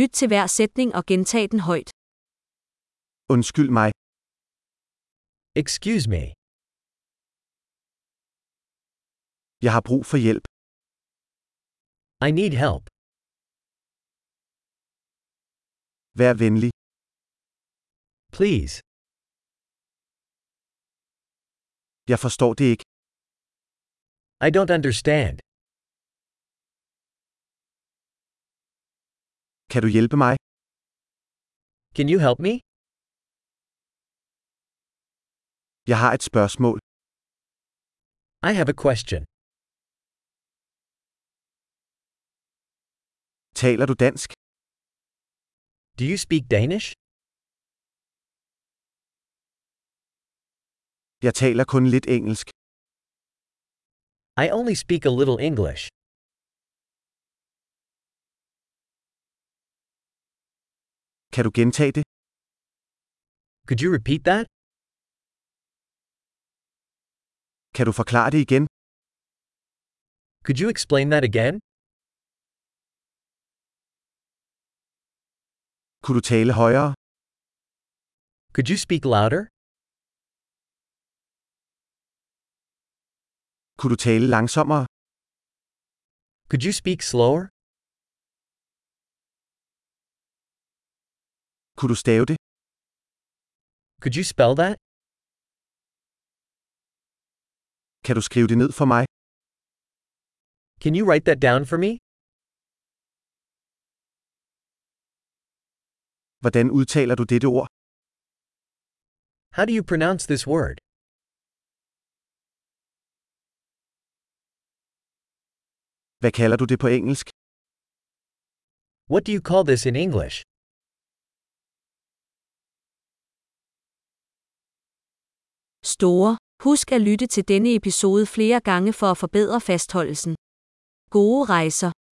Lyt til hver sætning og gentag den højt. Undskyld mig. Excuse me. Jeg har brug for hjælp. I need help. Vær venlig. Please. Jeg forstår det ikke. I don't understand. Kan du hjælpe mig? Can you help me? Jeg har et spørgsmål. I have a question. Taler du dansk? Do you speak Danish? Jeg taler kun lidt engelsk. I only speak a little English. Kan du gentage det? Could you repeat that? Kan du forklare det igen? Could you explain that again? Kunne du tale højere? Could you speak louder? Kunne du tale langsommere? Could you speak slower? Kunne du stave det? Could you spell that? Kan du skrive det ned for mig? Can you write that down for me? Hvordan udtaler du dette ord? How do you pronounce this word? Hvad kalder du det på engelsk? What do you call this in English? Store. Husk at lytte til denne episode flere gange for at forbedre fastholdelsen. Gode rejser.